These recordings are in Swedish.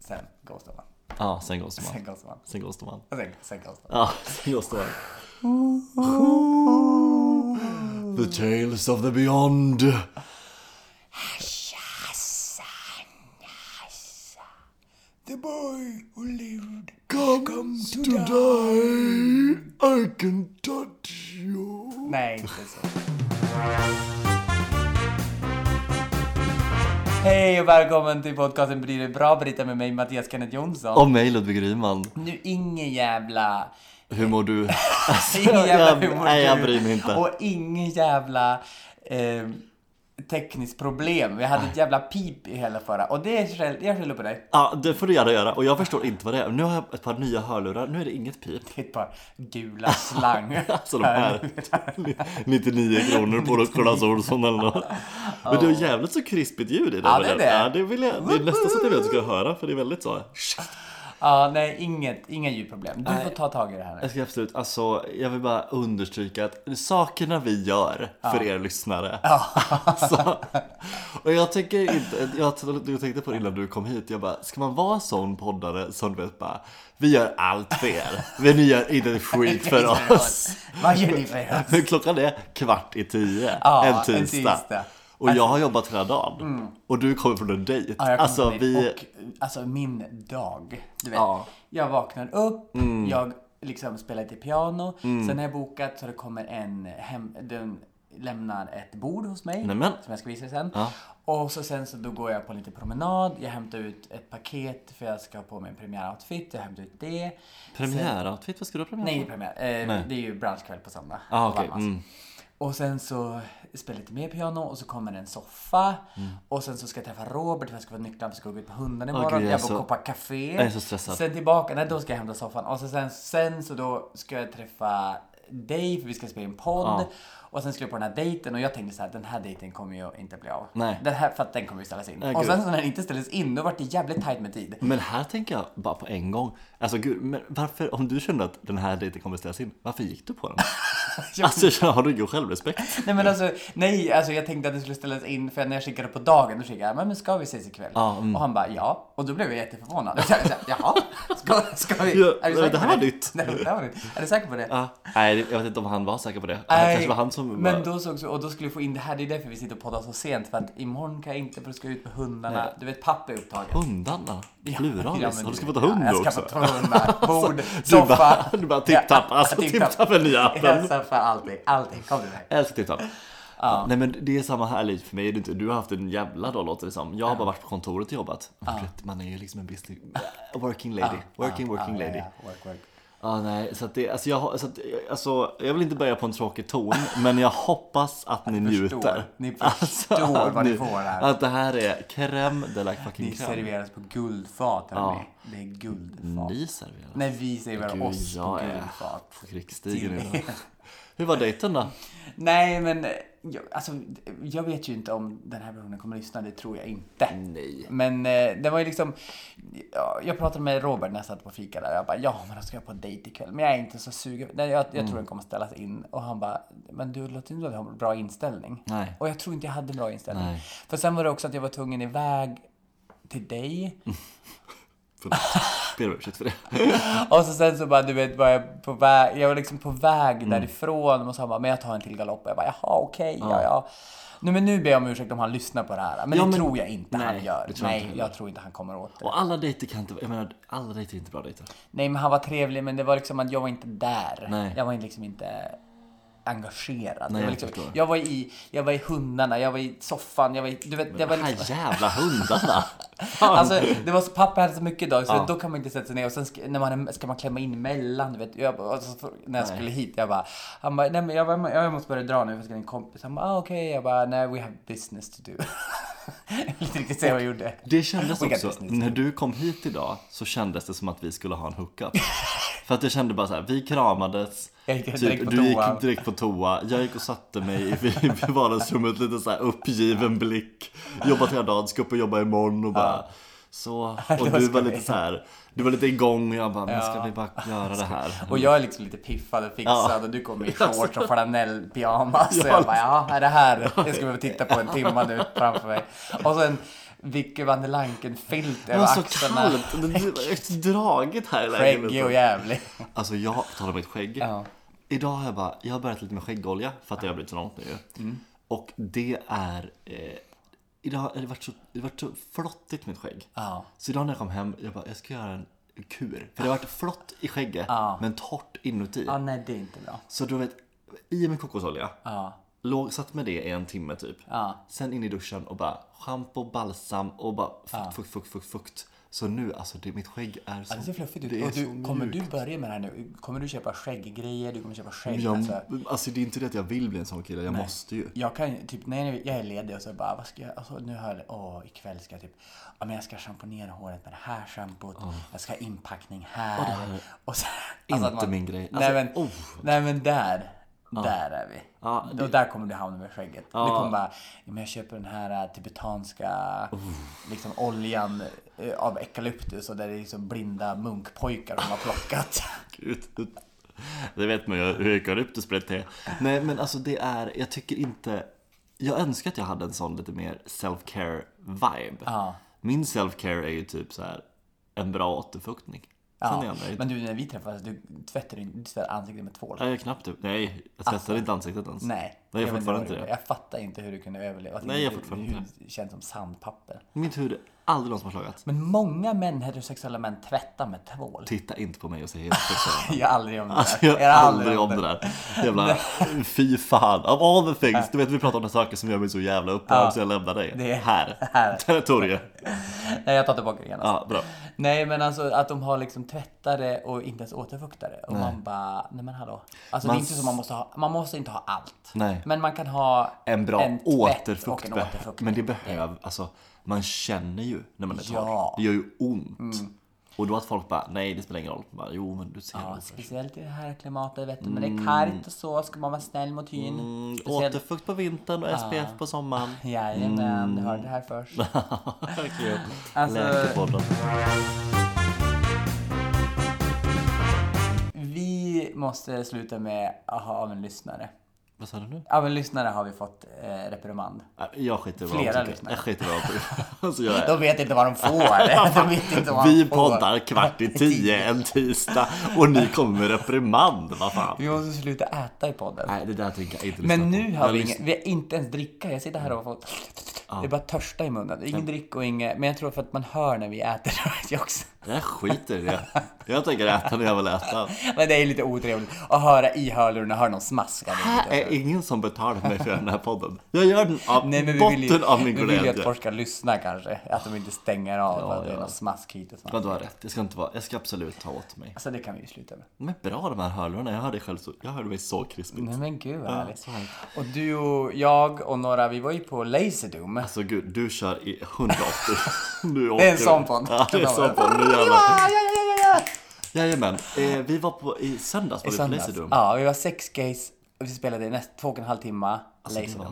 Sen ghostar man. Ja, sen ghostar man. Sen ghostar man. Sen ghostar man. Och sen, sen ghostar man. Ja, sen ghostar man. The tales of the beyond. The boy who lived. Comes to die. I can touch you. Nej, inte så. Hej och välkommen till podcasten Blir det bra? Britta med mig Mattias Kenneth Jonsson. Och mig Ludvig Ryman. Nu ingen jävla... Hur mår du? Alltså, Ingen jävla humor. Nej, jag bryr mig inte. Och ingen jävla eh, tekniskt problem. Vi hade ett jävla pip i hela förra. Och det är skäll, jag skäller på dig. Ja, det får du gärna göra. Och jag förstår inte vad det är. Nu har jag ett par nya hörlurar. Nu är det inget pip. Det är ett par gula slang. Alltså de här 99 kronor på Clas Ohlson eller något. Men det är jävligt så krispigt ljud i det. Ja, väl? det är det. Ja, det, vill jag, det är nästan så att jag vill att du ska höra för det är väldigt så. Ja, nej, inget, inga ljudproblem. Du Nej. får ta tag i det här nu. Jag ska absolut, alltså jag vill bara understryka att sakerna vi gör för er lyssnare. Alltså, och jag tänker inte, jag, jag tänkte på det innan du kom hit, jag bara, ska man vara sån poddare som du vet bara, vi gör allt för er, men ni gör inte ett skit för oss. Vad gör ni för oss? Men klockan är kvart i tio Ja, en, en tisdag. tisdag. Alltså- Mm. Och jag har jobbat hela dagen. Och du kommer från en dejt. Ja, jag kom alltså till dig. vi... Och, alltså min dag. Du vet, Ja. Mm. jag vaknar upp, jag liksom spelar lite piano, sen har jag bokat så det kommer en hem, den lämnar ett bord hos mig Nämen. som jag ska visa sen. Ja. Och så sen så då går jag på lite promenad, jag hämtar ut ett paket för jag ska ha på mig en premiäroutfit, jag hämtar ut det. Premiäroutfit, vad ska du ha premiär Nej, det är på? premiär. Eh, Nej. Det är ju branschkväll på söndag. Ah, på okej, Valmas. mm. Och sen så spelar jag lite mer piano och så kommer en soffa. Mm. Och sen så ska jag träffa Robert för jag ska få nycklarna för jag ska gå ut med hundarna imorgon. gud, jag är jag får så- koppa café. jag är så stressad. Sen tillbaka, nej då ska jag hämta soffan. Och så sen, sen så då ska jag träffa dig för vi ska spela in podd. Ja. Och sen skulle jag på den här dejten och jag tänkte så här, den här dejten kommer ju inte bli av. Nej. Den här, för att den kommer ju ställas in. Nej, och gud. sen så när den inte ställdes in, då vart det jävligt tajt med tid. Men här tänker jag bara på en gång. Alltså gud, men varför, om du kände att den här dejten kommer ställas in, varför gick du på den? alltså jag känner, har du ingen självrespekt? Nej men alltså, nej, alltså jag tänkte att det skulle ställas in för när jag skickade på dagen då skickade jag men, men ska vi ses ikväll? Ja, mm. Och han bara ja. Och då blev jag jätteförvånad. Jag sa, jag sa, Jaha, ska, ska vi? Ja, är du det säker här på var nytt. Nej, det här var nytt. Är du säker på det? Ja. nej, jag vet inte om han var säker på det. Det Nej, kanske var han som Men men då såg så, och då skulle vi få in det här, det är därför vi sitter och poddar så sent. För att imorgon kan jag inte för då ska jag ut med hundarna. Du vet pappa är upptagen. Hundarna? Pluralis? men har du du- skaffat hund ja, också? Alltså, Jag skaffat hundar, bord, Du soffa. bara, du bara tipp-tapp, alltså Ja, tipp-tapp är nya appen. Jag skaffar allting, allting. Kom till mig. Jag älskar TikTok. Nej men det är samma här liv för mig. Det är inte- Du har haft en jävla dag låter det som. Jag har bara varit på kontoret och jobbat. Rätt, Man är ju liksom en business... Working lady. Working, working Ja, lady. ja, ja. Work, work. Ja, nej, så att det, alltså jag, har- så att, alltså, jag vill inte börja på en tråkig ton, men jag hoppas att ni förstår. njuter. Alltså, Ni förstår att vad ni får här. Att det här är crème de la fucking Ni crème. serveras på guldfat Ja. hörni. Det är guldfat. Ni serverar. Nej, vi serverar Gud, oss på jag är guldfat. på krigsstigen Till idag. Hur var dejten då? Nej, men eh, jag, alltså, jag vet ju inte om den här personen kommer att lyssna. Det tror jag inte. Nej. Men eh, det var ju liksom, ja, jag pratade med Robert när jag satt på fika där. Jag bara, ja men då ska jag på dejt ikväll. Men jag är inte så sugen. Nej, jag, jag Mm. tror den kommer ställas in. Och han bara, men du låter inte att ha en bra inställning. Nej. Och jag tror inte jag hade en bra inställning. Nej. För sen var det också att jag var tvungen iväg till dig. Förlåt. Ber om ursäkt för det. Och så sen så bara, du vet, var jag på väg, jag var liksom på väg Mm. därifrån och så han bara, men jag tar en till galopp. Och jag bara, jaha okej, ja ja. Nej men nu ber jag om ursäkt om han lyssnar på det här. Men Ja, det men- tror jag inte han nej, gör. det tror jag Nej, inte heller. jag tror inte han kommer åt det. Och alla dejter kan inte, jag menar, alla dejter är inte bra dejter. Nej men han var trevlig men det var liksom att jag var inte där. Nej. Jag var liksom inte engagerad. Nej, jag, var jag liksom, förstår. jag var i, jag var i hundarna, jag var i soffan, jag var i, du vet, jag var De liksom... här jävla hundarna! Fan. Alltså, det var så, pappa hade så mycket idag så Ja. då kan man inte sätta sig ner och sen ska, när man, är- ska man klämma in emellan. Du vet. Jag, bara- alltså, när jag Nej. skulle hit, jag bara, han bara, nej men jag, bara, jag måste börja dra nu för jag ska till en kompis. Han bara, ah, okej, jag bara, nej we have business to do. jag vill inte riktigt säga vad jag gjorde. det kändes We got också, business. när du kom hit idag så kändes det som att vi skulle ha en hookup. För att jag kände bara så här, vi kramades, typ, Jag gick direkt på du toa. gick direkt på toa, jag gick och satte mig i i vardagsrummet lite så här uppgiven blick. Jobbat hela dagen, ska upp och jobba imorgon och bara så. Och Då du ska var vi. lite så här, du var lite igång och jag bara, men ska Ja. vi bara göra det här? Och jag är liksom lite piffad och fixad Ja. och du kommer i shorts och flanellpyjamas. Så jag bara, ja, är det här det ska vi väl titta på en timme nu framför mig. Och sen Vicky van der Lanken-filt Det över var så axlarna. kallt. Det var ett draget här i Skäggig lägenheten. och jävlig. Alltså jag, på tal om mitt skägg. Ja. Idag har jag bara, jag har börjat lite med skäggolja för att jag har blivit så långt nu ju. Mm. Och det är, eh, idag har det varit så, det har varit så flottigt mitt skägg. Ja. Så idag när jag kom hem, jag bara, jag ska göra en kur. För det har varit flott i skägget, men torrt inuti. Ja, nej det är inte bra. Så du vet, i med kokosolja. Ja. Låg, satt med det i en timme typ. Ja. Sen in i duschen och bara schampo, balsam och bara fukt, fukt, fukt, fukt, fukt. Så nu alltså, det, mitt skägg är så... Det ser fluffigt Det ut. är Och så du, kommer mjukt. du börja med det här nu? Kommer du köpa skägggrejer? Du kommer köpa skägg? Jag, Alltså, alltså det är inte det att jag vill bli en sån kille, jag måste ju. jag kan ju- typ, när jag är ledig och så bara, vad ska jag, alltså, nu har jag, åh, ikväll ska jag typ, ja men jag ska schamponera håret med det här schampot, jag ska ha inpackning här. Och, så, alltså att Inte min grej. nej, men, Alltså, oh. nej men där, där är vi. Ja, Och där kommer du hamna med skägget. Du kommer bara, ja, men jag köper den här eh, tibetanska Oh. liksom, oljan eh, av eukalyptus och där det är liksom blinda munkpojkar som har plockat. Gud. Det vet man ju hur eukalyptus brett är. Nej men alltså det är, jag tycker inte Jag önskar att jag hade en sån lite mer self-care vibe Ja. Min self-care är ju typ så här En bra återfuktning Sen är Ja, jag nöjd men du när vi träffades, du tvättar inte du tvättar ansiktet med tvål. Nej, jag är knappt typ. Nej, jag tvättar inte ansiktet ens Nej. Nej, jag vet fortfarande vad du inte det. Jag fattar inte hur du kunde överleva. Att Nej, jag din hud- fortfarande din hud känns som sandpapper. Mitt hud är aldrig någon som har klagat Men många män, heterosexuella män, tvättar med tvål. Titta inte på mig och säg heterosexuell Jag är aldrig om det Alltså där. jag är aldrig om det där Jävla, fy fan, of all the things Du vet vi pratar om saker som gör mig så jävla upprörd så jag lämnar dig Det är- Här, här. territoriet Nej, jag tar tillbaka det igen. Ja, bra Nej, men alltså att de har liksom tvättare och inte ens återfuktare. Och man bara, nej men hallå. Alltså Man det är inte så man måste ha, man måste inte ha allt. Nej. Men man kan ha En bra en tvätt återfukt, och en beh- återfukt. Men det behöver, alltså man känner ju när man är torr. Ja. Mm. Det gör ju ont. Och då att folk bara, nej det spelar ingen roll. Bara, jo men du ser Ja, ja, Mm. speciellt i det här klimatet vet du. När det är kargt och så ska man vara snäll mot hyn. speciellt... Återfukt på vintern och SPF på sommaren. Jajamän, Mm. du hörde det här först. Kul. Alltså- Läkarpodden. Vi måste sluta med att ha av en lyssnare. Vad sa du nu? Av en lyssnare har vi fått eh, reprimand. Nej, Jag skiter i vad Flera de tycker. lyssnare. Jag skiter i vad de tycker. Alltså, jag är. De vet inte vad de får. de vet inte vad Vi de får. poddar kvart i tio en tisdag och ni kommer med reprimand. Vad fan. Vi måste sluta äta i podden. Nej det där tänker jag inte lyssna Men på. nu Jag har vi, lyssnar- ingen, vi har inte ens dricka. Jag sitter här och får... Det är bara törsta i munnen. Det är Ingen dricka och inget... Men jag tror för att man hör när vi äter. Jag också. Jag skiter i det. Jag tänker äta när jag vill äta. Men det är lite otrevligt att höra i hörlurarna, höra någon smaska. Det är Här är ingen som betalar mig för den här podden. Jag gör den av Nej, men vi botten vill ju, av min vi vill ju att glädje. folk ska lyssna kanske. Att de inte stänger av för att det är någon smask hit och smask. Men du har rätt, jag ska, inte vara, jag ska absolut ta åt mig. Alltså det kan vi ju sluta med. Men bra de här hörlurarna, jag hörde, själv så, jag hörde mig så krispigt. Nej men gud vad härligt. så härligt. Och du och jag och några, vi var ju på Laserdom. Alltså gud, du kör i 180. Nu Det är åker en vi. sån podd. Ja, det är en sån podd. Nu jävlar. Ah, Jajamän, eh, vi var på, i söndags var vi på Söndags. Laserdom. Ja, vi var sex gays och vi spelade i näst, två och en halv timme. Alltså, Det var- Laserdom.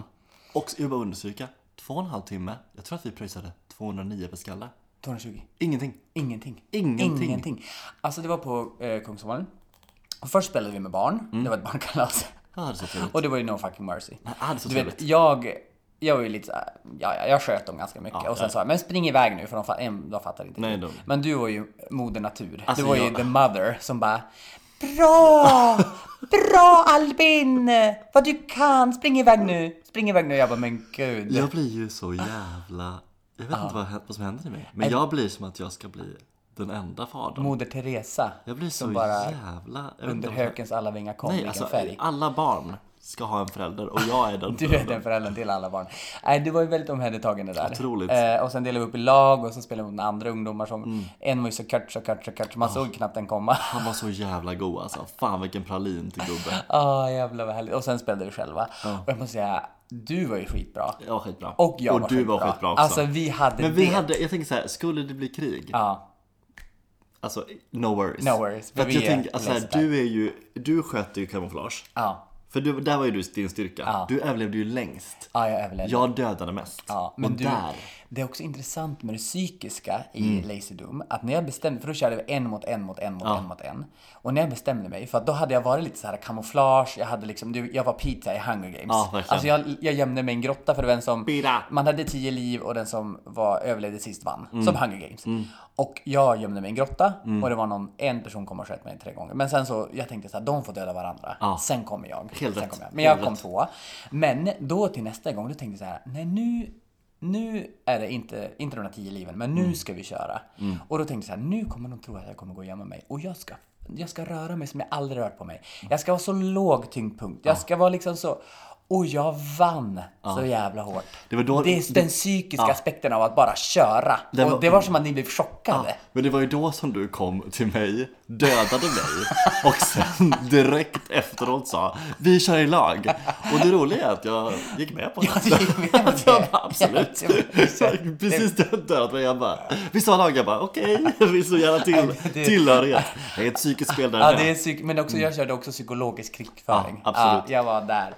Liksom. Och jag vill bara understryka, två och en halv timme. Jag tror att vi pröjsade 209 per skalle. 220. Ingenting. Ingenting. Ingenting. Ingenting. Alltså det var på eh, Kungsholmen. Och först spelade vi med barn. Mm. Det var ett barnkalas. Jag hade så trevligt. Och det var ju No fucking mercy. Jag hade så Du trevligt. vet, jag, jag var ju lite såhär, ja, ja, jag sköt dem ganska mycket. och sen sa jag, men spring iväg nu för de, fa- em, de fattar inte. typ. Nej, de- Men du var ju moder natur. Alltså, du var ju jag- the mother som bara, bra! Bra Albin! Vad du kan! Spring iväg nu! Spring iväg nu! Jag bara, men gud. Jag blir ju så jävla... Jag vet inte vad, hä- vad som händer i mig. Men jag blir som att jag ska bli den enda fadern. Moder Teresa. Jag blir så som bara jävla... Jag vet under inte om- hökens alla vingar kom Nej, vilken alltså färg. alla barn ska ha en förälder och jag är den Du är den föräldern till alla barn. Nej, du var ju väldigt omhändertagande där. Otroligt. Mm. Eh, och sen delade vi upp i lag och så spelade vi mot andra ungdomar som... En var ju så kort, så kort, så kort, så Ah. man såg knappt den komma. Han var så jävla god alltså. Fan vilken pralin till gubben. Ah, jävlar vad härligt. Och sen spelade vi själva. Ah. Och jag måste säga, du var ju skitbra. Jag var skitbra. Och jag och var du var skitbra också. Alltså vi hade men vi det. hade, jag tänker så här, skulle det bli krig, Ja, alltså no worries. No worries, För men att vi jag är tänker, alltså, så här, lazy du är ju, du sköter ju kamouflage. ja, För du, där var ju du din styrka. Du överlevde ju längst. ja Ah, jag överlevde. Jag dödade mest. Ja, men men och du, där Mm. Det är också intressant med det psykiska i Lazydom. Att när jag bestämde för då körde vi en mot en mot en mot en mot en. Och när jag bestämde mig, för att då hade jag varit lite så här kamouflage, jag hade liksom, du, jag var pizza i Hunger Games. Ja, verkligen. alltså jag, jag gömde mig i en grotta för den som... Pizza. Man hade tio liv och den som var, överlevde sist vann. Mm. Som Hunger Games. Och jag gömde mig i en grotta och det var någon, en person kom och sköt mig tre gånger. Men sen så, jag tänkte så här, de får döda varandra. Ja. Sen kommer jag. Helt sen rätt. kommer jag. Men jag Helt kom tvåa. Men då till nästa gång, då tänkte jag så här, nej nu nu är det inte, inte de här tio liven, men Mm. nu ska vi köra. Och då tänkte jag så här, nu kommer de tro att jag kommer gå och gömma mig. Och jag ska, jag ska röra mig som jag aldrig rört på mig. Jag ska ha så låg tyngdpunkt. Jag ska vara liksom så... Och jag vann så jävla hårt. Det var då- det är den psykiska aspekten av att bara köra. Det var- och det var som att ni blev chockade. Men det var ju då som du kom till mig, dödade mig och sen direkt efteråt sa vi kör i lag. Och det roliga är att jag gick med på det. Ja, du gick med på det. Jag bara, absolut. Ja, det var- Jag- Precis det jag dödat mig. Jag bara, vi sa lag. Jag bara, okej. Vi så gärna till, det- tillhörighet. Det är ett psykiskt spel där Ja, med. det är psyk- men också, jag körde också psykologisk krigföring. Ja, absolut. jag var där.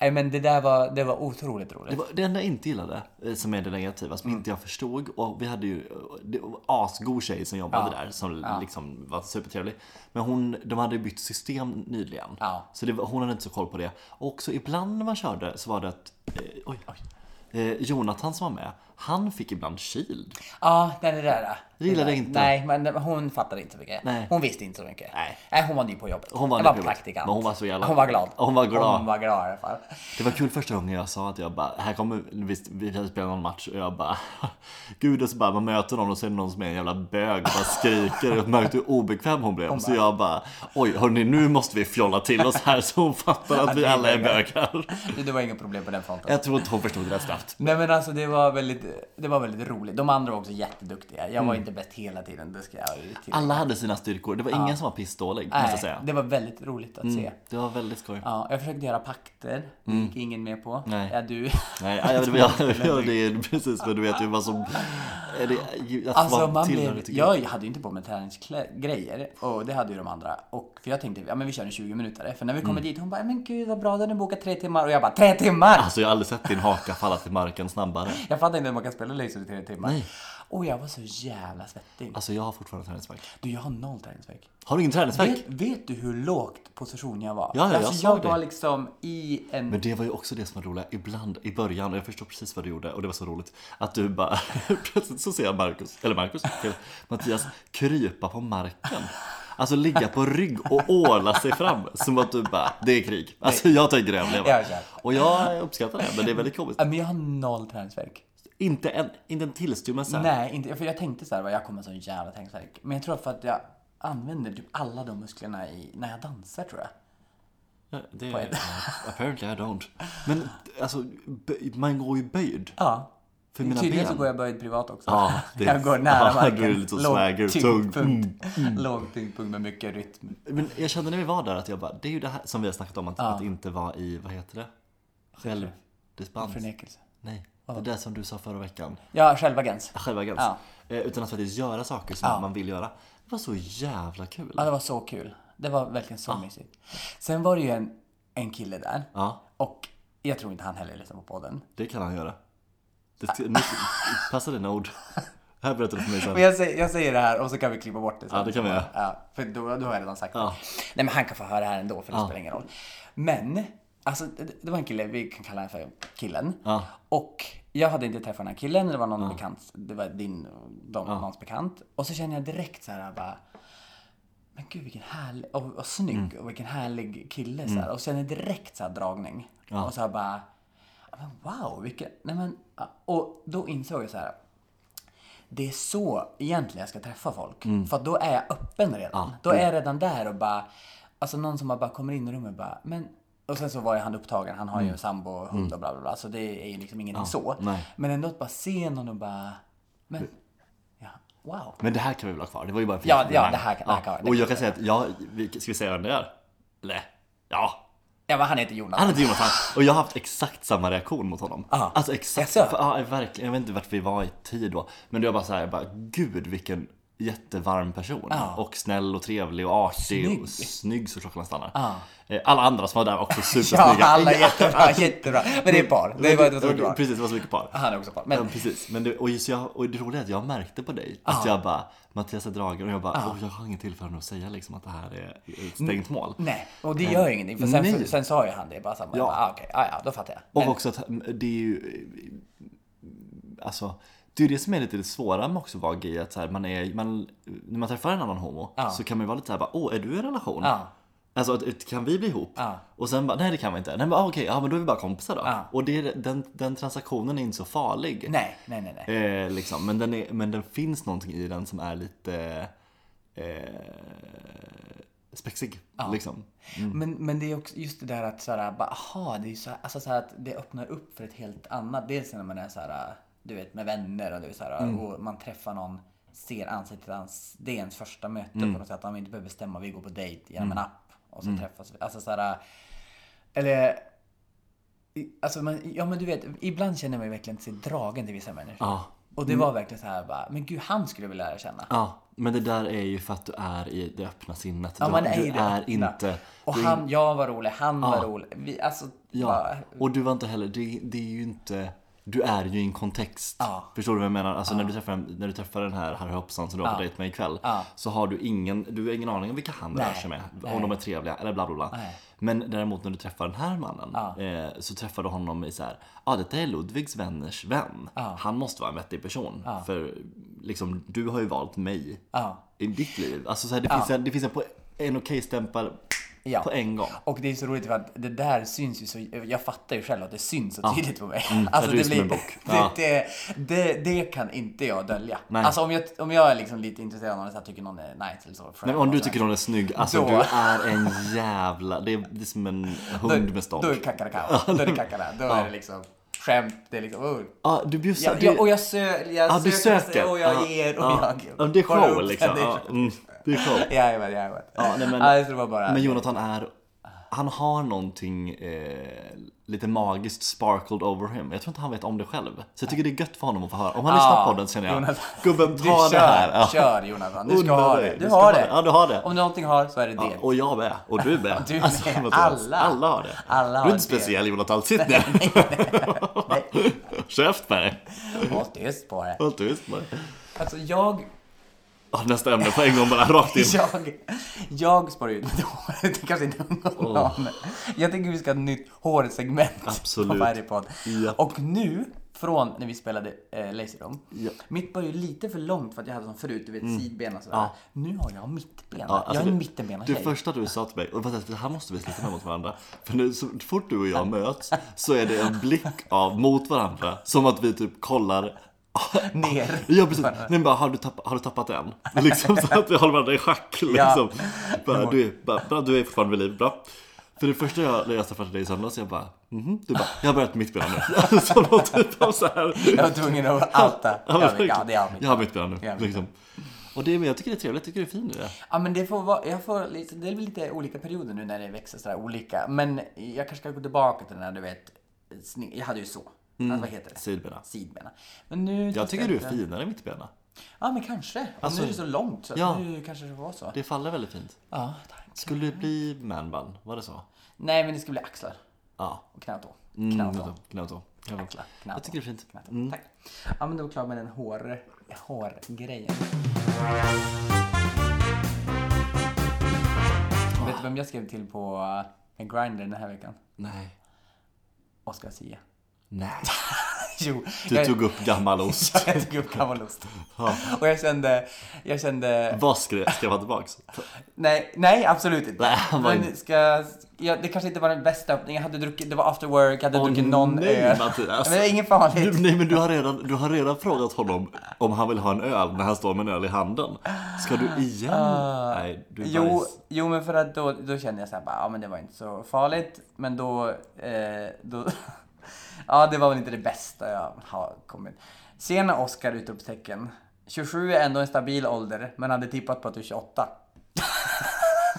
Nej, men det där var, det var otroligt roligt. Det, var, det enda jag inte gillade, eh, som är det negativa, som inte jag förstod och vi hade ju eh, det var asgod tjej som jobbade där som liksom var supertrevlig. Men hon, de hade ju bytt system nyligen. Ja. Så det var, hon hade inte så koll på det. Och också ibland när man körde så var det att, eh, oj, Eh, Jonathan som var med, han fick ibland shield. Ja, nej, det där. Det gillade där. jag inte. Nej, men hon fattade inte så mycket. Nej. Hon visste inte så mycket. Nej. hon var ny på jobbet. Hon var jag ny på var jobbet. praktikant. Men hon var så jävla- Hon var glad. Hon var glad. Hon var glad i alla fall. Det var kul första gången jag sa att jag bara, här kommer, visst, vi hade spelat någon match och jag bara, gud och så bara, man möter någon och så är det någon som är en jävla bög och bara skriker och märkte hur obekväm hon blev. Så jag bara, oj hörni nu måste vi fjolla till oss här så hon fattar att vi alla är bögar. Det, det var inga problem på den fronten. Jag tror inte hon förstod det där snabbt. Nej men alltså det var väldigt, det var väldigt roligt. De andra var också jätteduktiga. Jag Mm. var inte bäst hela tiden, det ska jag ju till. Alla hade sina styrkor, det var ingen som var pissdålig Ah, måste jag säga. Mm. det var väldigt roligt att se. Det var väldigt skoj. Ja, jag försökte göra pakter, det gick ingen med på. Mm. Nej. Ja, du. Nej, jag, jag, jag, jag, det är precis men du vet ju vad som... Är det, att Alltså vara man tillhörig blev, tycker jag. jag hade ju inte på mig träningsgrejer och det hade ju de andra. Och, för jag tänkte, ja men vi kör en 20 minuter För när vi kommer Mm. dit, hon bara, men gud vad bra, den är bokat tre timmar. Och jag bara, tre timmar! Alltså jag har aldrig sett din haka falla till marken snabbare. Jag fattar inte hur man kan spela laser i tre timmar. Och jag var så jävla svettig. Alltså jag har fortfarande träningsvärk. Du, jag har noll träningsvärk. Har du ingen träningsvärk? Vet, vet du hur lågt position jag var? Ja, ja, jag alltså, såg jag var det. liksom i en... Men det var ju också det som var roligt ibland i början och jag förstår precis vad du gjorde och det var så roligt att du bara plötsligt så ser jag Marcus, eller Marcus, fel, Mattias krypa på marken. Alltså ligga på rygg och åla sig fram som att du bara, det är krig. Alltså jag tänker överleva. Jag kör. Och jag uppskattar det men det är väldigt komiskt. Ja, Men jag har noll träningsvärk. Inte en, inte en tillstymmelse. Nej, inte, för jag tänkte så här, va, jag kommer ha sån jävla träningsvärk. Men jag tror för att jag använder typ alla de musklerna i, när jag dansar tror jag. Det är, apparently I don't. Men alltså, bö- man går ju böjd. Ja. För mina Tydligen så ben. går jag böjd privat också. Ja, det- jag går nära ja, marken. du är lite så Låg swagger, tyngdpunkt. tung. Mm, Låg tyngdpunkt med mycket rytm. Men jag kände när vi var där att jag bara, det är ju det här som vi har snackat om att, att inte vara i, vad heter det? Självdistans. Förnekelse. Nej, det där som du sa förra veckan. Ja, självagens. Självagens. Ja. Eh, utan att faktiskt göra saker som man vill göra. Det var så jävla kul. Ja, det var så kul. Det var verkligen så mysigt. Sen var det ju en, en kille där. Ja, Och jag tror inte han heller lyssnar på podden. det kan han göra. Det, sk- nu, passa dina ord. Det här berättar du för mig Men sen. jag säger, jag säger det här och så kan vi klippa bort det sen. Ja, det kan vi göra. Ja, för då, då har jag redan sagt Ja. det. Nej, men han kan få höra det här ändå för det spelar ingen roll. Men, alltså det, det var en kille, vi kan kalla honom för killen. Ja. Och jag hade inte träffat den här killen, det var någon bekant, det var din, de, någons bekant. Och så känner jag direkt så här bara, men gud vilken härlig, och, och snygg Mm. och vilken härlig kille så här. Och känner direkt så här dragning. Och så här bara, ja, men wow vilken, nej men, ja. och då insåg jag så här det är så egentligen jag ska träffa folk. För att då är jag öppen redan. då är jag redan där och bara, alltså någon som bara kommer in i rummet och bara, men och sen så var ju han upptagen, han har ju en sambo och hund och bla bla bla. Så det är ju liksom ingenting så. nej. Men ändå att bara se någon och bara, men, ja, wow. Men det här kan vi väl ha kvar? Det var ju bara en Ja, förgissning. ja, det här kan- det här kan- det Och kan jag kan säga att jag, vi- ska vi säga vem det är? Eller? Ja, Ja, men han heter Jonas. Han heter Jonathan och jag har haft exakt samma reaktion mot honom. Ja. Alltså exakt. Ah. Jaså? Ja, verkligen. Jag vet inte vart vi var i tid då. Men det var bara så här, jag bara gud vilken jättevarm person. Ja. Och snäll och trevlig och artig Ah. Snygg. och snygg så klockan stannar. Ja. Eh, Alla andra som var där var också Ja, supersnygga. alla är jättebra, jättebra. Men det är par. Det var, det var, det var, bra. Precis, det var så mycket par. Han är också par. Ja, Men Ah. precis. Men det, och, just jag, och det roliga är att jag märkte på dig att jag bara Mattias är dragen och jag bara "Åh, jag har inget tillfälle att säga liksom att det här är ett stängt mål. nej, och det gör ju ingenting. För sen, Nej. sen sa ju han det bara samma. Ja. Ja. Ah, okej, ah, ja, då fattar jag. Och också att det är ju eh, Alltså det är ju det som är lite det svåra med också att vara gay att så här, man är, man, när man träffar en annan homo Ja. så kan man ju vara lite såhär bara, åh är du i en relation? Ja. Alltså att- att kan vi bli ihop? Ja. Och sen bara, nej det kan vi inte. Nej men ah, okej, ja men då är vi bara kompisar då. Ja. Och det är, den, den transaktionen är inte så farlig. Nej, nej, nej, nej. Eh, liksom. men, den är, men den finns någonting i den som är lite eh, spexig. Liksom. Men, men det är också just det där att såhär, bara, aha, det är ju så alltså såhär att det öppnar upp för ett helt annat. Dels när man är såhär, du vet med vänner och du vet såhär, Mm. och man träffar någon, ser ansiktet till ans Det är ens första möte Mm. på något sätt. Man inte behöver bestämma, vi går på dejt genom en app och så träffas vi. Alltså såhär, eller i- Alltså, man, ja men du vet, ibland känner man ju verkligen sig dragen till vissa människor. Ja. Och Mm. det var verkligen så här bara, men gud han skulle jag vilja lära känna. Ja, men det där är ju för att du är i det öppna sinnet. Ja, du man är du i det är öppna. inte... Och du är han, jag var rolig, han var rolig. Vi, alltså, Ja, bara- och du var inte heller, det, det är ju inte Du är ju i en kontext. Ja. Förstår du vad jag menar? Alltså när, du träffar, en- när du träffar den här Harry Hoppsan som du har på dejt med ikväll Ja. så har du ingen, du har ingen aning om vilka han Nej. rör sig med. Nej. Om de är trevliga eller bla bla bla. Nej. Men däremot när du träffar den här mannen Ja. eh, så träffar du honom i så här, ja ah, detta är Ludvigs vänners vän. Han måste vara en vettig person. För liksom, du har ju valt mig Ja. i ditt liv. Alltså så här, det, finns en, det finns en, po- en okej-stämpel Ja. på en gång. Och det är så roligt för att det där syns ju så, jag fattar ju själv att det syns så tydligt på mig. Alltså, det Mm, är som en bock. det, Ja. det, det, det kan inte jag dölja. Nej. Alltså om jag, om jag är liksom lite intresserad av någon, så här, tycker någon är nice eller så. Nej, men om du tycker någon är snygg, alltså Då- du är en jävla... Det är, det är som en hund med stånd. Då är det kackarkacka. Då är det kackara. Då är det liksom skämt. Det är liksom, oh. Ja, du bjussar. jag, du- jag, och jag, sö, jag ja, du söker och jag ger och ja, jag... ja, det är Bara show upp, liksom. det är Ja, show. mm, det är show. Jajamän, jajamän. Ja, nej, men- alltså, det var bara... Men Jonathan är... Han har någonting eh, lite magiskt sparkled over him. Jag tror inte han vet om det själv. Så jag tycker det är gött för honom att få höra. Om han lyssnar på podden så känner jag, Jonathan. gubben Du ta det kör, här. Ja. Kör Jonathan, du ska Unna ha dig. det. Du Du ska ha har det. det. Ja, du har det. Om du någonting har så är det det. Och jag med. Och du med. Du med. Mattias, Alla. alla har det. Alla du har är det. inte speciell Jonathan. Sitt ner. Käft med dig. Var tyst på det. Håll tyst med dig. Alltså jag, Ja, nästa ämne på en gång bara rakt in. jag, jag sparar ut mitt hår. Det kanske inte någon aning. Jag tänker vi ska ha ett nytt hårsegment Absolut. på varje podd. Ja. Och nu, från när vi spelade eh, Lazy Room. Ja. Mitt var ju lite för långt för att jag hade som förut, du vet sidben och sådär. Mm. Ja. Nu har jag mittbena. Ja, alltså jag är en det- mittenbena Det tjej. första du sa till mig, och vänta, det här måste vi sluta med mot varandra. För nu, så fort du och jag möts så är det en blick av mot varandra. Som att vi typ kollar. Ner. Ja precis, Nej, men bara, har, du tappat, har du tappat en? Liksom så att vi håller varandra i schack. Liksom. Bara, du, är, bara, bra, du är fortfarande vid liv, bra. För det första jag, när jag träffade dig i söndags, jag bara, mhm, du bara, jag har börjat mitt ben nu. Som någon typ av så här, Jag var tvungen att outa. Ja, Ja, men, ja, det är jag. jag har mitt ben nu. Ja. Liksom. Och det, men jag tycker det är trevligt, jag tycker det är fint i det. Ja men det får vara, jag får lite, det är väl lite olika perioder nu när det växer sådär olika. Men jag kanske ska gå tillbaka till den här du vet, sni- jag hade ju så. Mm. Alltså, vad heter det? Sidbena. Sidbena. Men nu... Jag tycker du är finare mittbena. Ja men kanske. Och nu är det så långt så att Ja. nu kanske det var så. Det faller väldigt fint. Ja, tack. Skulle det bli manbun? Var det så? Nej men det ska bli axlar Ja. och knätå. Mm, Knätå. Knätå. Knätå. Axlar. Knätå. Jag tycker Mm. det är fint. knätå. Tack. Ja men då var jag klar med den hår, Ah. hårgrejen. Vet du vem jag skrev till på eh, Grindr den här veckan? Nej. Oscar Zia. Nej. Jo, Du jag, tog upp gammal ost. jag tog upp gammal ost. Ja. Och jag kände, jag kände, Vad skrev, skrev han tillbaks? nej, nej absolut inte. Nej, han var Men ska, ja, det kanske inte var den bästa öppningen, jag hade druckit, det var after work, jag hade druckit någon nej, öl. Mattias. Men det är inget farligt. Du, nej men du har, redan, du har redan frågat honom om han vill ha en öl när han står med en öl i handen. Ska du igen? nej, du är Ah. Jo, bajs. jo, men för att då, då kände jag så här, bara, ja men det var inte så farligt, men då, eh, då ja det var väl inte det bästa jag har kommit. Sena Oscar utropstecken. 27 är ändå en stabil ålder, men hade tippat på att du är 28.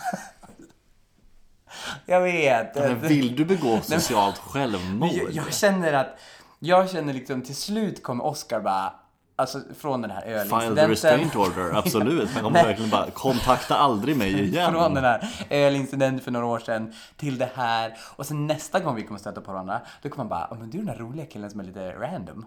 jag vet. Men vill du begå socialt självmord? Jag, jag känner att, jag känner liksom till slut kommer Oscar bara, Alltså från den här File the ölincidenten. restraint order, absolut. Man kommer verkligen bara kontakta aldrig mig igen. Från den här ölincidenten för några år sedan till det här. Och sen nästa gång vi kommer stöta på varandra, då kommer man bara, "Ja, men du är den här roliga killen som är lite random.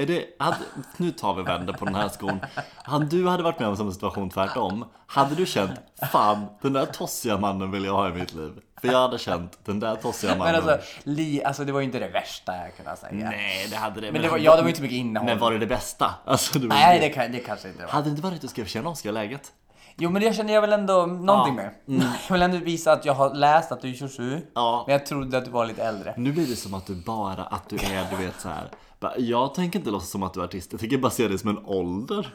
Är det, hade, nu tar vi vänder på den här skon. Han, du hade varit med om samma situation tvärtom. Hade du känt, fan den där tossiga mannen vill jag ha i mitt liv. För jag hade känt, den där tossiga mannen. Men alltså, li, alltså det var ju inte det värsta jag kunde säga. nej, det hade det. Men det var, ja, det var ju inte mycket innehåll. men var det det bästa? Alltså, det var, Nej, det, kan, det kanske inte var. Hade det inte varit att skriva tjena Oskar, läget? Jo, men det känner jag väl ändå någonting med. mm. Jag vill ändå visa att jag har läst att du är 27, Ja. men jag trodde att du var lite äldre. Nu blir det som att du bara, att du är, du vet så här. bara, Jag tänker inte låtsas som att du är artist, jag tänker bara se dig som en ålder.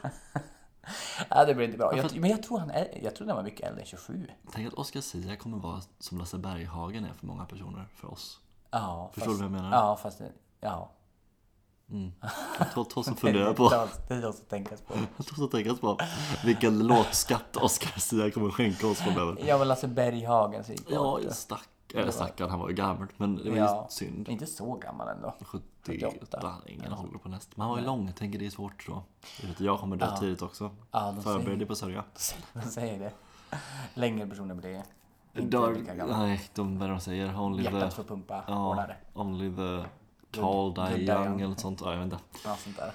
Ja, det blir inte bra. Jag, men jag tror han är, jag tror han var mycket äldre än 27. Tänk att Oskar Sia kommer vara som Lasse Berghagen är för många personer, för oss. Ja, Förstår du fast, vad jag menar? Ja, fast ja. Ta, ta som fundera på. Det är alls- Det är något att tänka på. Jag tror att tänkas på vilken låtskatt Oscar Sia kommer skänka oss framöver. Jag var Lasse Berghagen så gick det Ja, åt. stack, eller stackarn, han var ju gammal. Men det var ju Ja. synd. Inte så gammal ändå. 78, ingen håller på näst. Men han var ju lång, jag tänker det är svårt då. Jag vet, Jag kommer dö tidigt också. Ja, de Förbered säger- dig på att sörja. De säger det. Längre personer blir inte lika Dör, gamla. nej, de, vad de säger, only Hjärtat the, får pumpa ja, hårdare. only the tall die young young. eller något sånt. Ja, jag vet inte. Något sånt där.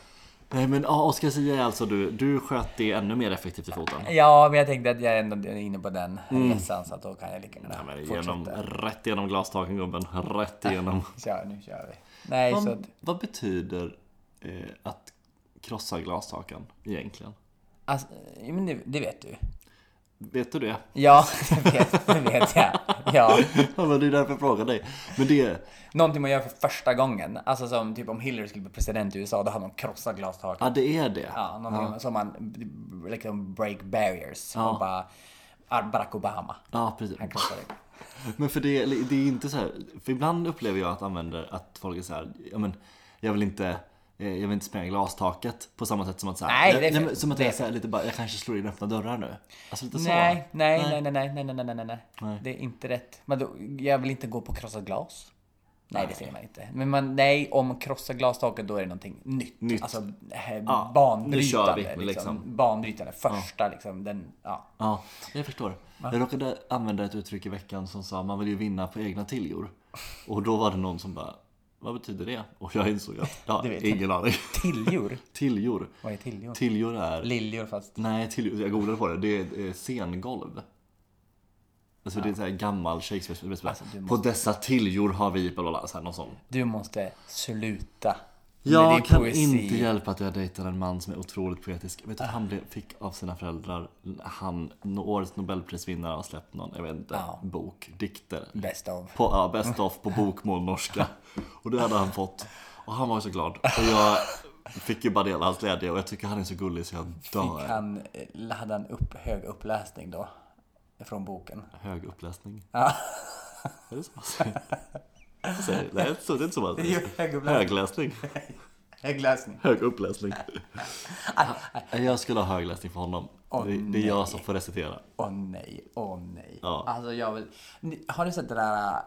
Nej men ja, Oscar Sia är alltså du, du sköt det ännu mer effektivt i foten. Ja, men jag tänkte att jag ändå är inne på den resan så att då kan jag lika gärna Nej, men genom, fortsätta. rätt igenom glastaken gubben, rätt igenom. Kör, nu kör vi. Nej, så att, Vad, vad betyder eh, att krossa glastaken egentligen? alltså, ja, men det, det vet du. Vet du det? Ja, det vet, det vet jag. Ja. Ja, men det är därför jag frågar dig. Men det, Någonting man gör för första gången. Alltså som typ om Hillary skulle bli president i USA, då hade de krossat glastaket. ja, det är det. Ja, någonting som man liksom break barriers. Och bara, Ah, Barack Obama. Ja, precis. Han krossade det. Men för det, det är inte så här, för ibland upplever jag att använder att folk är så här, ja men jag vill inte eh, jag vill inte spränga glastaket på samma sätt som att så här, Nej, det är nej, fel. men som att jag, är så här, lite bara, jag kanske slår in öppna dörrar nu. Alltså lite Nej, så. nej, nej, nej, nej, nej, nej, nej, nej, nej. Det är inte rätt. Men då, jag vill inte gå på krossat glas. Nej, det säger man inte. Men man, nej, om krossar glastaket då är det någonting nytt. Nytt. Alltså eh, Ja, nu kör banbrytande. vi, liksom. liksom. Banbrytande. Första liksom. Den, ja. Ja, jag förstår. Jag råkade använda ett uttryck i veckan som sa man vill ju vinna på egna tiljor. Och då var det någon som bara, vad betyder det? Och jag insåg att, ja, vet ingen aning. Tilljor. Tiljor. Vad är tilljor? Tiljor är, Liljor fast. nej tiljor, jag googlade på det, det är eh, scengolv. Alltså det är så här gammal Shakespeare, Alltså, du på dessa tiljor har vi, bla bla bla, så här, någon sån. Du måste sluta. med din Jag kan poesi. Ah. inte hjälpa att jag dejtar en man som är otroligt poetisk. Vet du, han blev, fick av sina föräldrar, han, årets nobelprisvinnare har släppt någon, jag vet inte, Ah. bok, dikter. Bäst av. På, ja, best of på bokmål norska. Och det hade han fått. Och han var ju så glad. Och jag fick ju bara dela hans glädje och jag tycker han är så gullig så jag dör. Fick han, eh, hade han upp, hög uppläsning då? Från boken. Hög uppläsning. Är det så man säger? Så säger- Nej, det är inte så- det är inte så man Det är säger. ju hög uppläsning. Högläsning. Högläsning. Hög uppläsning. Jag skulle ha högläsning för honom. det, det är jag som får recitera. Åh nej, åh nej. Ja. Alltså jag vill... Ni- Har du sett det där äh,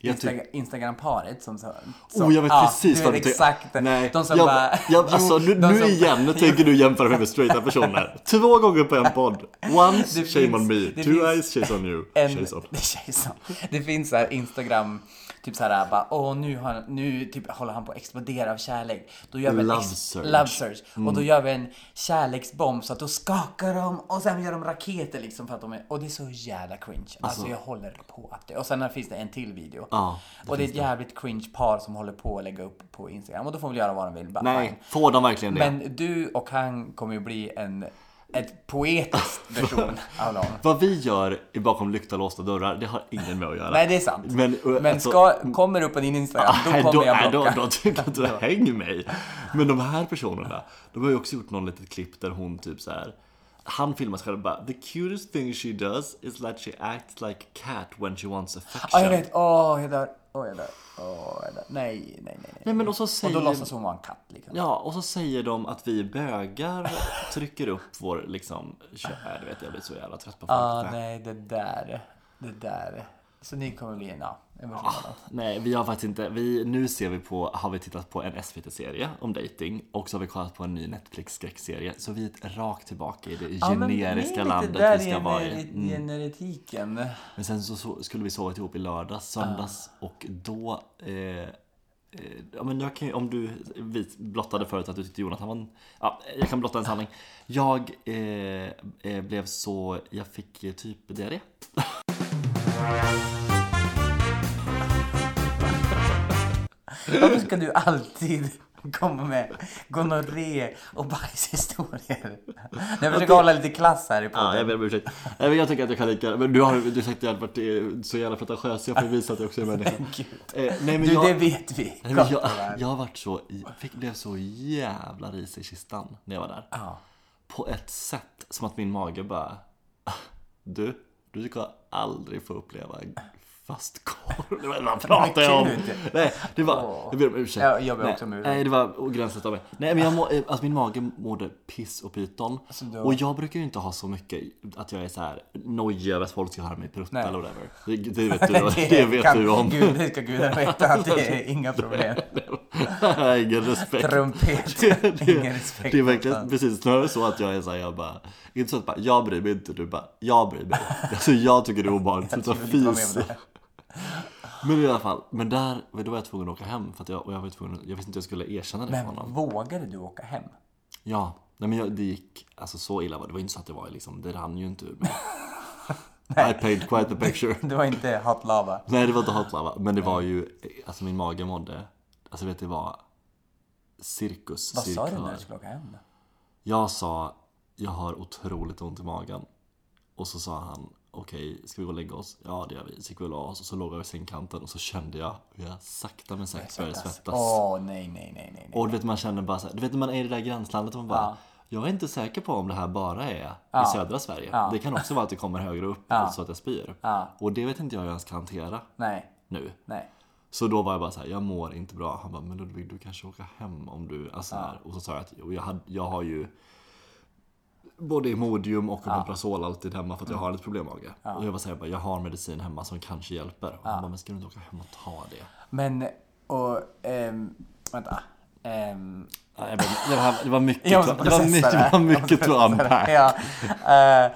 Jag Insta- tyck- Instagram-paret som... som oh, jag vet ja, precis du vad vet du exakt. det. Nej, De som jag, bara... jag, alltså, nu, de nu som- igen tänker du jämföra mig med straighta personer. Två gånger på en podd. Once, Det shame on finns- me. det Two finns eyes, shame on you. En, Shame on. Jason. Det finns så här Instagram, typ så här bara, åh nu, har, han- nu typ, håller han på att explodera av kärlek. Då gör vi en Love ex- surge. love surge. Och då gör vi en kärleksbomb så att då skakar de och sen gör de raketer liksom för att de är, och det är så jävla cringe. Alltså, jag håller på att det. Och sen här finns det en till video. Ja, och det är ett jävligt cringe par som håller på att lägga upp på Instagram och då får vi göra vad de vill. Bara, fine. Nej, får de verkligen det? Men du och han kommer ju bli en, ett poetisk version av dem. Vad vi gör i bakom lyckta låsta dörrar, det har ingen med att göra. Nej, det är sant. Men, eh, Men alltså- ska, kommer du på din Instagram, då Nej, kommer Ah, då, jag nej, blocka. Då, då tycker jag att du hänger mig. Men de här personerna, de har ju också gjort någon litet klipp där hon typ så här. Han filmar sig själv och bara The cutest thing she does is that she acts like a cat when she wants Ja, affection. Ah, jag vet. Åh, jag dör. Åh, jag dör. Åh, jag dör. Nej, nej, nej. nej. Nej men och så och säger, då låtsas hon vara en katt liksom. ja, och så säger de att vi bögar trycker upp vår äh, liksom, kö- Nej, du vet jag blir så jävla trött på folk. Ah, nej, det där. Det där. Så ni kommer bli ja, en version av dem. Nej, vi har faktiskt inte. Vi, nu ser vi på, har vi tittat på en SVT-serie om dating och så har vi kollat på en ny Netflix-skräckserie. Så vi är rakt tillbaka i det men ni är generiska lite landet där vi ska vara i. Mm. gener- Generetiken. Men sen så, så skulle vi sovit ihop i lördags, söndags Ah. och då eh, eh, Ja, men jag kan ju, om du vis- blottade förut att du tyckte Jonathan var en, ja, Jag kan blotta en sanning Jag eh, eh, blev så, jag fick eh, typ diarré Varför ska du alltid komma med gonorré och bajshistorier? Jag försöker hålla lite klass här i Ja, jag podden. ber om ursäkt Nej, men jag tycker att jag kan lika Men du har du har sagt att jag har varit eh, så jävla pretentiös Jag får visa att jag också är människa Gud. eh, Nej men Du, jag, det vet vi. nej, men Gott och jag, väl. jag har varit så, jag fick, blev så jävla risig i kistan när jag var där Ja. på ett sätt som att min mage bara "Ah, Du, du ska aldrig få uppleva fastkorv. Nej, men Vad pratar jag om? Men gud. Nej, det var, Åh. jag ber om ursäkt. Ja, jag ber också om Nej, ursäkt. Nej, det var ogränsligt av mig. Nej, men jag må, eh, alltså min mage mådde piss och pyton. Alltså, du- Och jag brukar ju inte ha så mycket att jag är så här nojig över att folk ska höra mig prutta Nej. eller whatever. Det, det vet du, det vet kan- du om. Gud, det ska gudarna veta att det är inga problem. Jag har Ingen respekt. Trumpet. Ingen respekt. Det är verkligen precis snarare så att jag är såhär, jag bara, inte så att bara, jag bryr mig inte, du bara, jag bryr mig. Alltså jag tycker det är obehagligt, Jag sluta vill inte vara med om fis. det. Men i alla fall, men där, då var jag tvungen att åka hem för att jag, och jag var tvungen, jag visste inte hur jag skulle erkänna det för Men honom. vågade du åka hem? Ja, nej men jag, det gick, alltså så illa var det, det var inte så att det var liksom, det rann ju inte ur mig. I paint quite the picture. Det var inte hot lava. Nej det var inte hot lava, men det var ju, alltså min mage mådde, alltså vet det var cirkus, Vad sa du cirklar. när du skulle åka hem? Jag sa jag har otroligt ont i magen. Och så sa han okej, ska vi gå och lägga oss? Ja det gör vi. Så gick vi och la oss och så låg jag vid sängkanten och så kände jag hur jag sakta men säkert började svettas. Åh, nej, nej, nej, nej. nej. Och du vet man känner bara så här, du vet när man är i det där gränslandet och man bara Jag är inte säker på om det här bara är i södra Sverige. Det kan också vara att det kommer högre upp så att jag spyr. Och det vet inte jag hur jag ska hantera Nej, nu. nej. Så då var jag bara så här, jag mår inte bra. Han bara, men Ludvig du kanske åka hem om du, alltså här. Och så sa jag att och jag, hade, jag har ju både Imodium och Omeprazol alltid hemma för att jag har lite problem med mage. Och jag bara säger bara, jag har medicin hemma som kanske hjälper. Och han bara, men ska du inte åka hem och ta det? Men, och... ehm, vänta. Ehm, Ja, jag bara, Det var, det var mycket, jag måste det var mycket, processa det var här. Jag måste mycket to processa unpack. det. Ja. eh,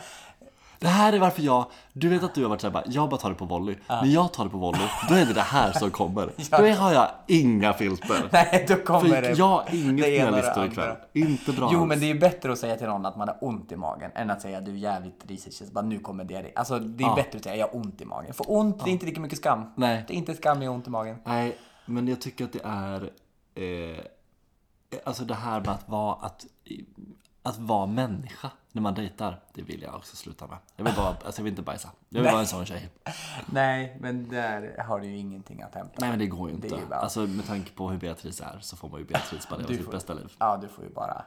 Det här är varför jag, du vet att du har varit såhär bara, jag bara tar det på volley. När jag tar det på volley, då är det det här som kommer. Då har jag inga filter. nej, då kommer det. För jag har inget det ena och det finalister andra. ikväll. Inte bra Jo, alls. men det är ju bättre att säga till någon att man har ont i magen än att säga du är jävligt risig känns bara nu kommer det. Alltså, det är bättre att säga jag har ont i magen. För ont, det är inte lika mycket skam. Nej. Det är inte skam i ont i magen. Nej, men jag tycker att det är eh, Alltså det här med att vara, att, att vara människa när man dejtar Det vill jag också sluta med Jag vill, bara, alltså jag vill inte bajsa Jag vill vara en sån tjej Nej, men där har du ju ingenting att hämta. Nej men det går ju inte Det är ju bara- Alltså med tanke på hur Beatrice är så får man ju Beatrice bara leva sitt får- bästa liv Ja, du får ju bara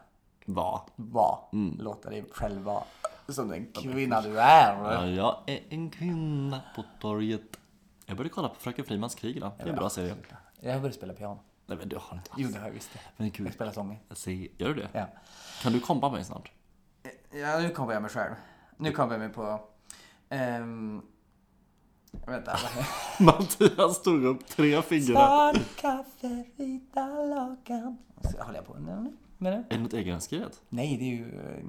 Vara vara. Låta dig själv vara. Mm. Som den kvinna du är. ja, Jag är en kvinna på torget Jag började kolla på Fröken Frimans krig idag Det är en bra serie Jag började spela piano. Nej men du har inte Jo, det har jag visst det. Men Jag gud, spelar sånger. se, gör du det? Ja. Kan du kompa mig snart? ja, nu kommer jag mig själv. Nu kommer jag mig på... ehm, vänta. Mattias tog upp tre fingrar kaffe, vita lakan. Så håller jag på med det? Är det något egenskrivet? Nej, det är ju eh,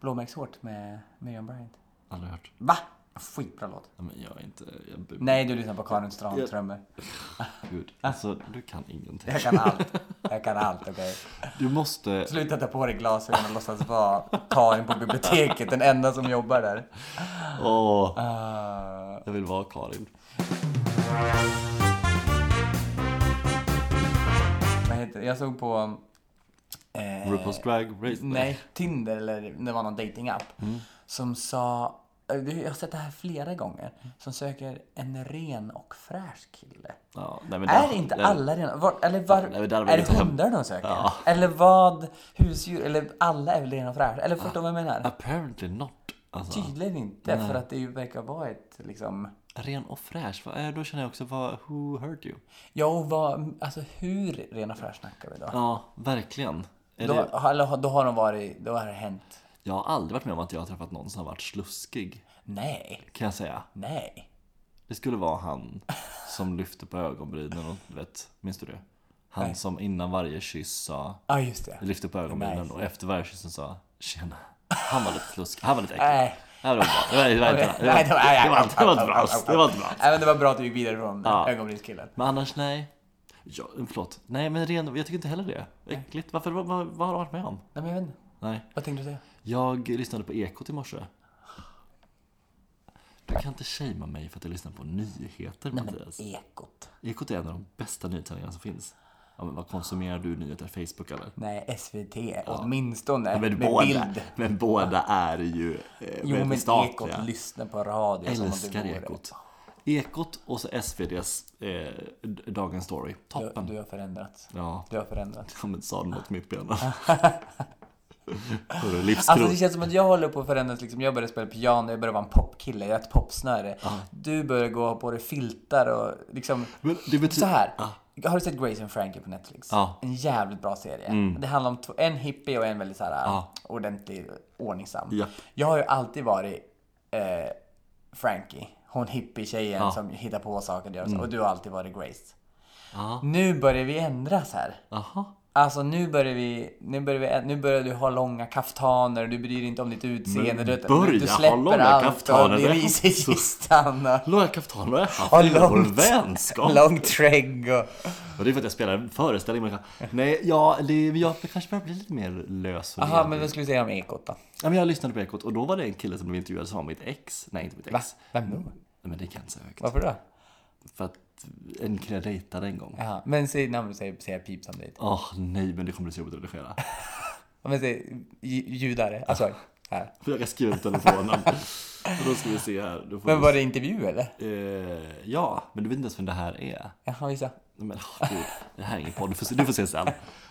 Blåmärkshårt med Miriam Bryant. Aldrig hört. Va? Skitbra låt. Nej, men jag är inte... Jag bu- Nej, du lyssnar på Karin Strandströmer. Gud. Alltså, du kan ingenting. Jag kan allt. Jag kan allt, okej. Du måste... Sluta ta på dig glasögon och låtsas vara Karin på biblioteket, den enda som jobbar där. Åh, Ah, jag vill vara Karin. vad heter det? Jag såg på... eh, RuPaul's Drag Race. Nej, Tinder eller det var någon datingapp Mm. som sa, eh, jag har sett det här flera gånger, Mm. som söker en ren och fräsch kille. Ja, nej, men Är där- inte där- alla rena? Var, eller var, Nej, men där var är lite det hem- hundar de söker? Ja. Eller vad? Husdjur? Eller alla är väl rena och fräscha? Eller förstår du vad jag Alltså. menar? Apparently not. Alltså, Tydligen inte, för att det ju verkar vara ett liksom... ren och fräsch. Vad är, då känner jag också, vad, who hurt you? Ja, och vad, alltså hur ren och fräsch snackar vi då? Ja, verkligen. Är det, Då, eller, då har de varit, då har det hänt. jag har aldrig varit med om att jag har träffat någon som har varit sluskig. Nej, Kan jag säga. nej. Det skulle vara han som lyfte på ögonbrynen och du vet, minns du det? Han Nej. som innan varje kyss sa, Ja, just det. lyfte på ögonbrynen Nice. och efter varje kyssen sa Tjena. Han var lite slusk, han var lite äcklig. Nej. Det var bra. Det var- det var inte bra. Det var- Nej, det det var- nej, var- det var inte au, bra. au, alls. au, Det var inte bra. Nej, men det var bra att du gick vidare från Ja. ögonbrynskillen. Men annars nej. Ja, förlåt. Nej men ren, jag tycker inte heller det. Äckligt. Varför, vad, vad, vad har du varit med om? Nej, men jag vet inte. Nej. Vad tänkte du säga? Jag lyssnade på Ekot i morse. Du kan inte shamea mig för att jag lyssnar på nyheter Mattias. Ekot. Ekot är en av de bästa nyhetssändningarna som finns. Ja, men vad konsumerar du nyheter? Facebook eller? Nej, SVT. Åtminstone. Men, med båda, bild. men båda är ju eh, Jo, väldigt men statliga. Ekot. Lyssna på radio. som om det Älskar vore- Ekot. Ekot och så SVDs eh, Dagens Story. Du, Toppen. du har förändrats. Ja, Du har förändrats. Som ett sadel mot mitt ben. Hörru, Alltså livskrok. det känns som att jag håller på att förändras liksom. Jag började spela piano, jag började vara en popkille, jag är ett popsnöre. Du börjar gå på dig filtar och liksom... Men det Så betyder... här. Har du sett Grace and Frankie på Netflix? Typ, Ja. Mm. En jävligt bra serie. Det handlar om två, en hippie och en väldigt så här, ordentlig, ordningsam. Japp. Jag har ju alltid varit eh, Frankie. Hon hippie-tjejen som hittar på saker och gör så. Mm. Och du har alltid varit Grace. Ja. Nu börjar vi ändras här. Aha. Alltså nu börjar vi, nu börjar vi, nu börjar du ha långa kaftaner, du bryr dig inte om ditt utseende. Du, börja du ha släpper långa allt kaftaner, och det det är ryser i kistan och Låga kaftan har jag haft Ja, i vår långt. vänskap. lång trägg och... Och det är för att jag spelar en föreställning med Nej, ja, det, men jag kanske börjar bli lite mer lös och Jaha, ledig. men vad skulle du säga om ekot då? ja, men Jag lyssnade på Ekot och då var det en kille som blev intervjuad som var mitt ex. Nej, inte mitt ex. Va? Vem då? Nej, men det kan jag säga högt. Varför då? För att en kille jag dejtade en gång. Jaha, men säg namn och säg, säg pip samtidigt. Åh nej, men det kommer bli så jobbigt att redigera. Ja, Men säg ju- judare, alltså här. För jag kan skriva ut telefonen. och då ska vi se här. Då får Men vi var det intervju eller? Eh, ja, men du vet inte ens vem det här är. Jaha, visa. Nej, Men, åh, gud, det här är ingen podd, du får se, du får se sen.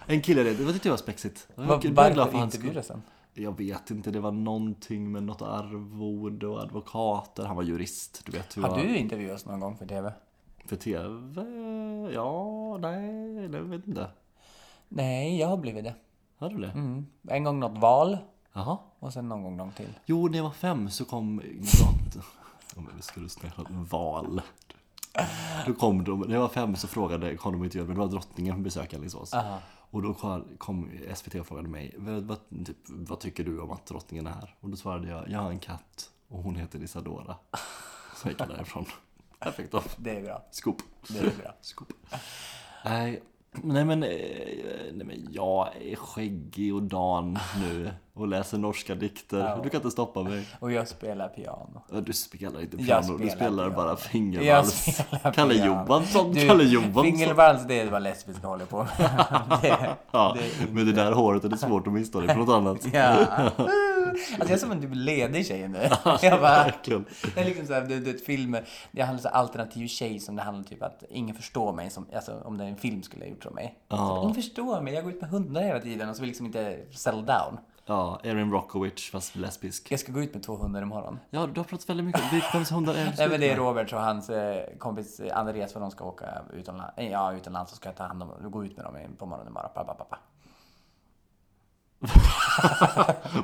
En kille, det det tyckte jag var spexigt. Jag Var, blev glad för varför hans skull. intervjuades han? Jag vet inte, det var någonting med något arvode och advokater. Han var jurist, du vet hur Har han... du intervjuats någon gång för TV? För TV? Ja, nej, jag vet inte. Nej, jag har blivit det. Har du det? Mm. En gång något val Jaha. och sen någon gång någon till. Jo, när jag var fem så kom... Ja, men ska du snälla, val. Då kom de, när jag var fem så frågade, kom de inte men det var drottningen på besök i Alingsås. Och då kom- kom SVT och frågade mig, vad, vad, typ, vad tycker du om att drottningen är här? Och då svarade jag, jag har en katt och hon heter Isadora. Så jag gick jag därifrån. Där fick de Det är bra. scoop. Det är bra. Scoop. Nej, nej men, eh, nej men jag är skäggig och dan nu och läser norska dikter. Du kan inte stoppa mig. Och jag spelar piano. Ja, Du spelar inte piano, Jag du spelar spelar piano. bara Jag fingervals. spelar Kalle piano. Johansson, Du, Kalle Johansson. Fingervals, det är vad lesbiska håller på med. det, Ja, det är inte- men det där håret är det svårt att missa det från något annat. Ja. Alltså jag är som en typ ledig tjej nu. Jag bara, Verkligen. det är liksom så här, du du vet filmer, det handlar om så här alternativ tjej som det handlar om typ att ingen förstår mig, som, alltså om det är en film skulle ha gjort om mig. Så, ingen förstår mig, jag går ut med hundar hela tiden och så vill liksom inte settle down. Ja, Erin Brockovich fast lesbisk. Jag ska gå ut med två hundar imorgon. Ja, du har pratat väldigt mycket om vilka- vems hundar är Nej men det är det? Robert och hans eh, kompis eh, Andreas för de ska åka utomlands, ja, utomlands och ska jag ta hand om gå ut med dem i- på morgonen imorgon. Pa, pa, pa, pa.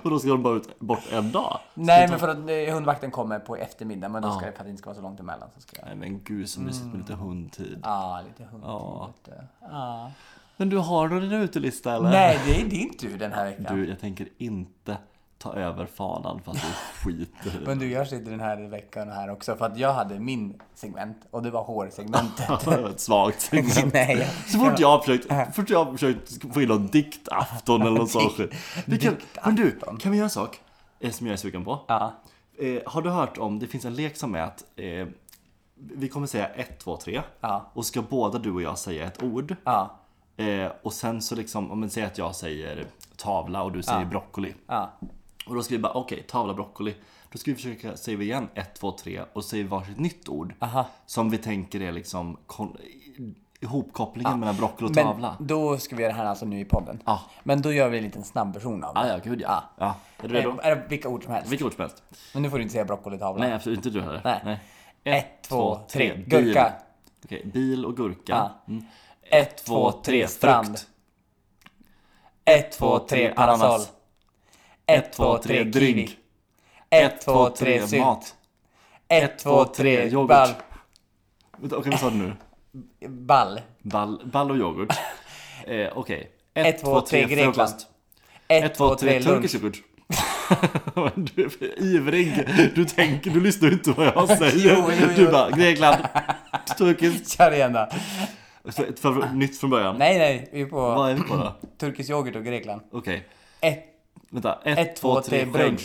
Och då ska de bara ut bort en dag? Nej men för att eh, hundvakten kommer på eftermiddagen men då ska det, för att det inte ska vara så långt emellan så ska jag... Nej men gud så mysigt med Mm. lite hundtid. Ja, lite hundtid. lite- Ja. Men du har nog din utelista eller? Nej, det är din tur den här veckan. Du, jag tänker inte ta över fanan för att du skiter i det. Men du, jag sitter den här veckan här också för att jag hade min segment och det var hårsegmentet. Det var ett svagt segment. Nej. Så fort jag har försökt, Äh. så fort jag har försökt få in någon diktafton eller något sånt skit. Vi kan- Men du, kan vi göra en sak eh, som jag är sugen på? Ja. Eh, har du hört om, det finns en lek som är att eh, vi kommer säga 1, 2, 3 Ja. och ska båda du och jag säga ett ord. Ja. Eh, och sen så liksom, om man säger att jag säger tavla och du säger broccoli. Ja. Och då ska vi bara, okej, tavla broccoli. Då ska vi försöka, säger vi igen 1, 2, 3 och säger varsitt nytt ord. Som vi tänker är liksom kon- ihopkopplingen mellan broccoli och tavla. Men då ska vi göra det här alltså nu i podden. Ja. Men då gör vi en liten snabb version av det. Ah, ja, gud ja. ja. Är du redo? Eh, Är det vilka ord som helst. Vilket ord som helst. Men nu får du inte säga broccolitavla. Nej, absolut inte du heller. Nej. Ett, två, tre. Bil. Gurka. Okej, bil och gurka. Ja. Mm. Ett, Två, tre, strand. frukt. Ett, två, tre, parasoll. ananas. Ett, två, tre, kiwi. Ett, två, tre, sylt. mat. Ett, två, tre, yoghurt. Vänta, Okej, vad sa du nu? Ball. Ball, ball och yoghurt. Eh, Okej. Ett, två, tre, Grekland. frukost. 1, Ett, två, tre, turkisk yoghurt. du är för ivrig. Du tänker, du lyssnar ju inte vad jag säger. Jo, jo, jo. Du bara, Grekland, turkiskt. Kör igen då. Så ett för, nytt från början. Nej, nej. Vi är på Vad är vi på då? turkisk yoghurt och Grekland. Okej. 1, Vänta, ett, Ett, två, tre, skägg. brunch.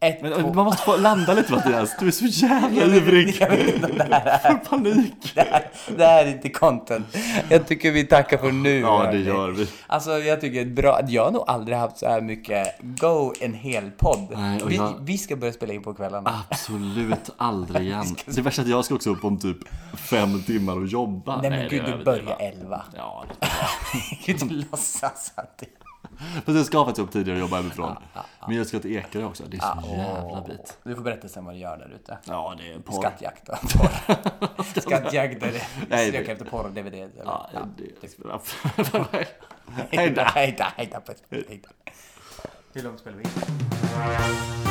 1, Men, 2... man måste få landa lite Mattias, du är så jävla ivrig! Jag vet inte det här är. Får panik! Det här, det här är inte content. Jag tycker vi tackar för nu. Ja det hörni. gör vi. Alltså jag tycker det är bra, jag har nog aldrig haft så här mycket go en hel podd. Nej, och vi, jag- vi ska börja spela in på kvällarna. Absolut aldrig igen. Det värsta är att jag ska också upp om typ fem timmar och jobba. Nej men det gud, är du överdrivet. börjar elva. Ja, Gud, du låtsas att det... men jag ska faktiskt upp tidigare och jobba hemifrån. Men jag ska till Ekerö också, det är så jävla bit. Ah, Du får berätta sen vad du gör där ute. Ja, det är porr. Skattjakt och porr. Skattjakt Nej, eller det- sök efter porr och DVD. Eller? Ja, Ja. det... Hejda, hejda, hejda. på ett- hejda. Hur långt spelar vi in?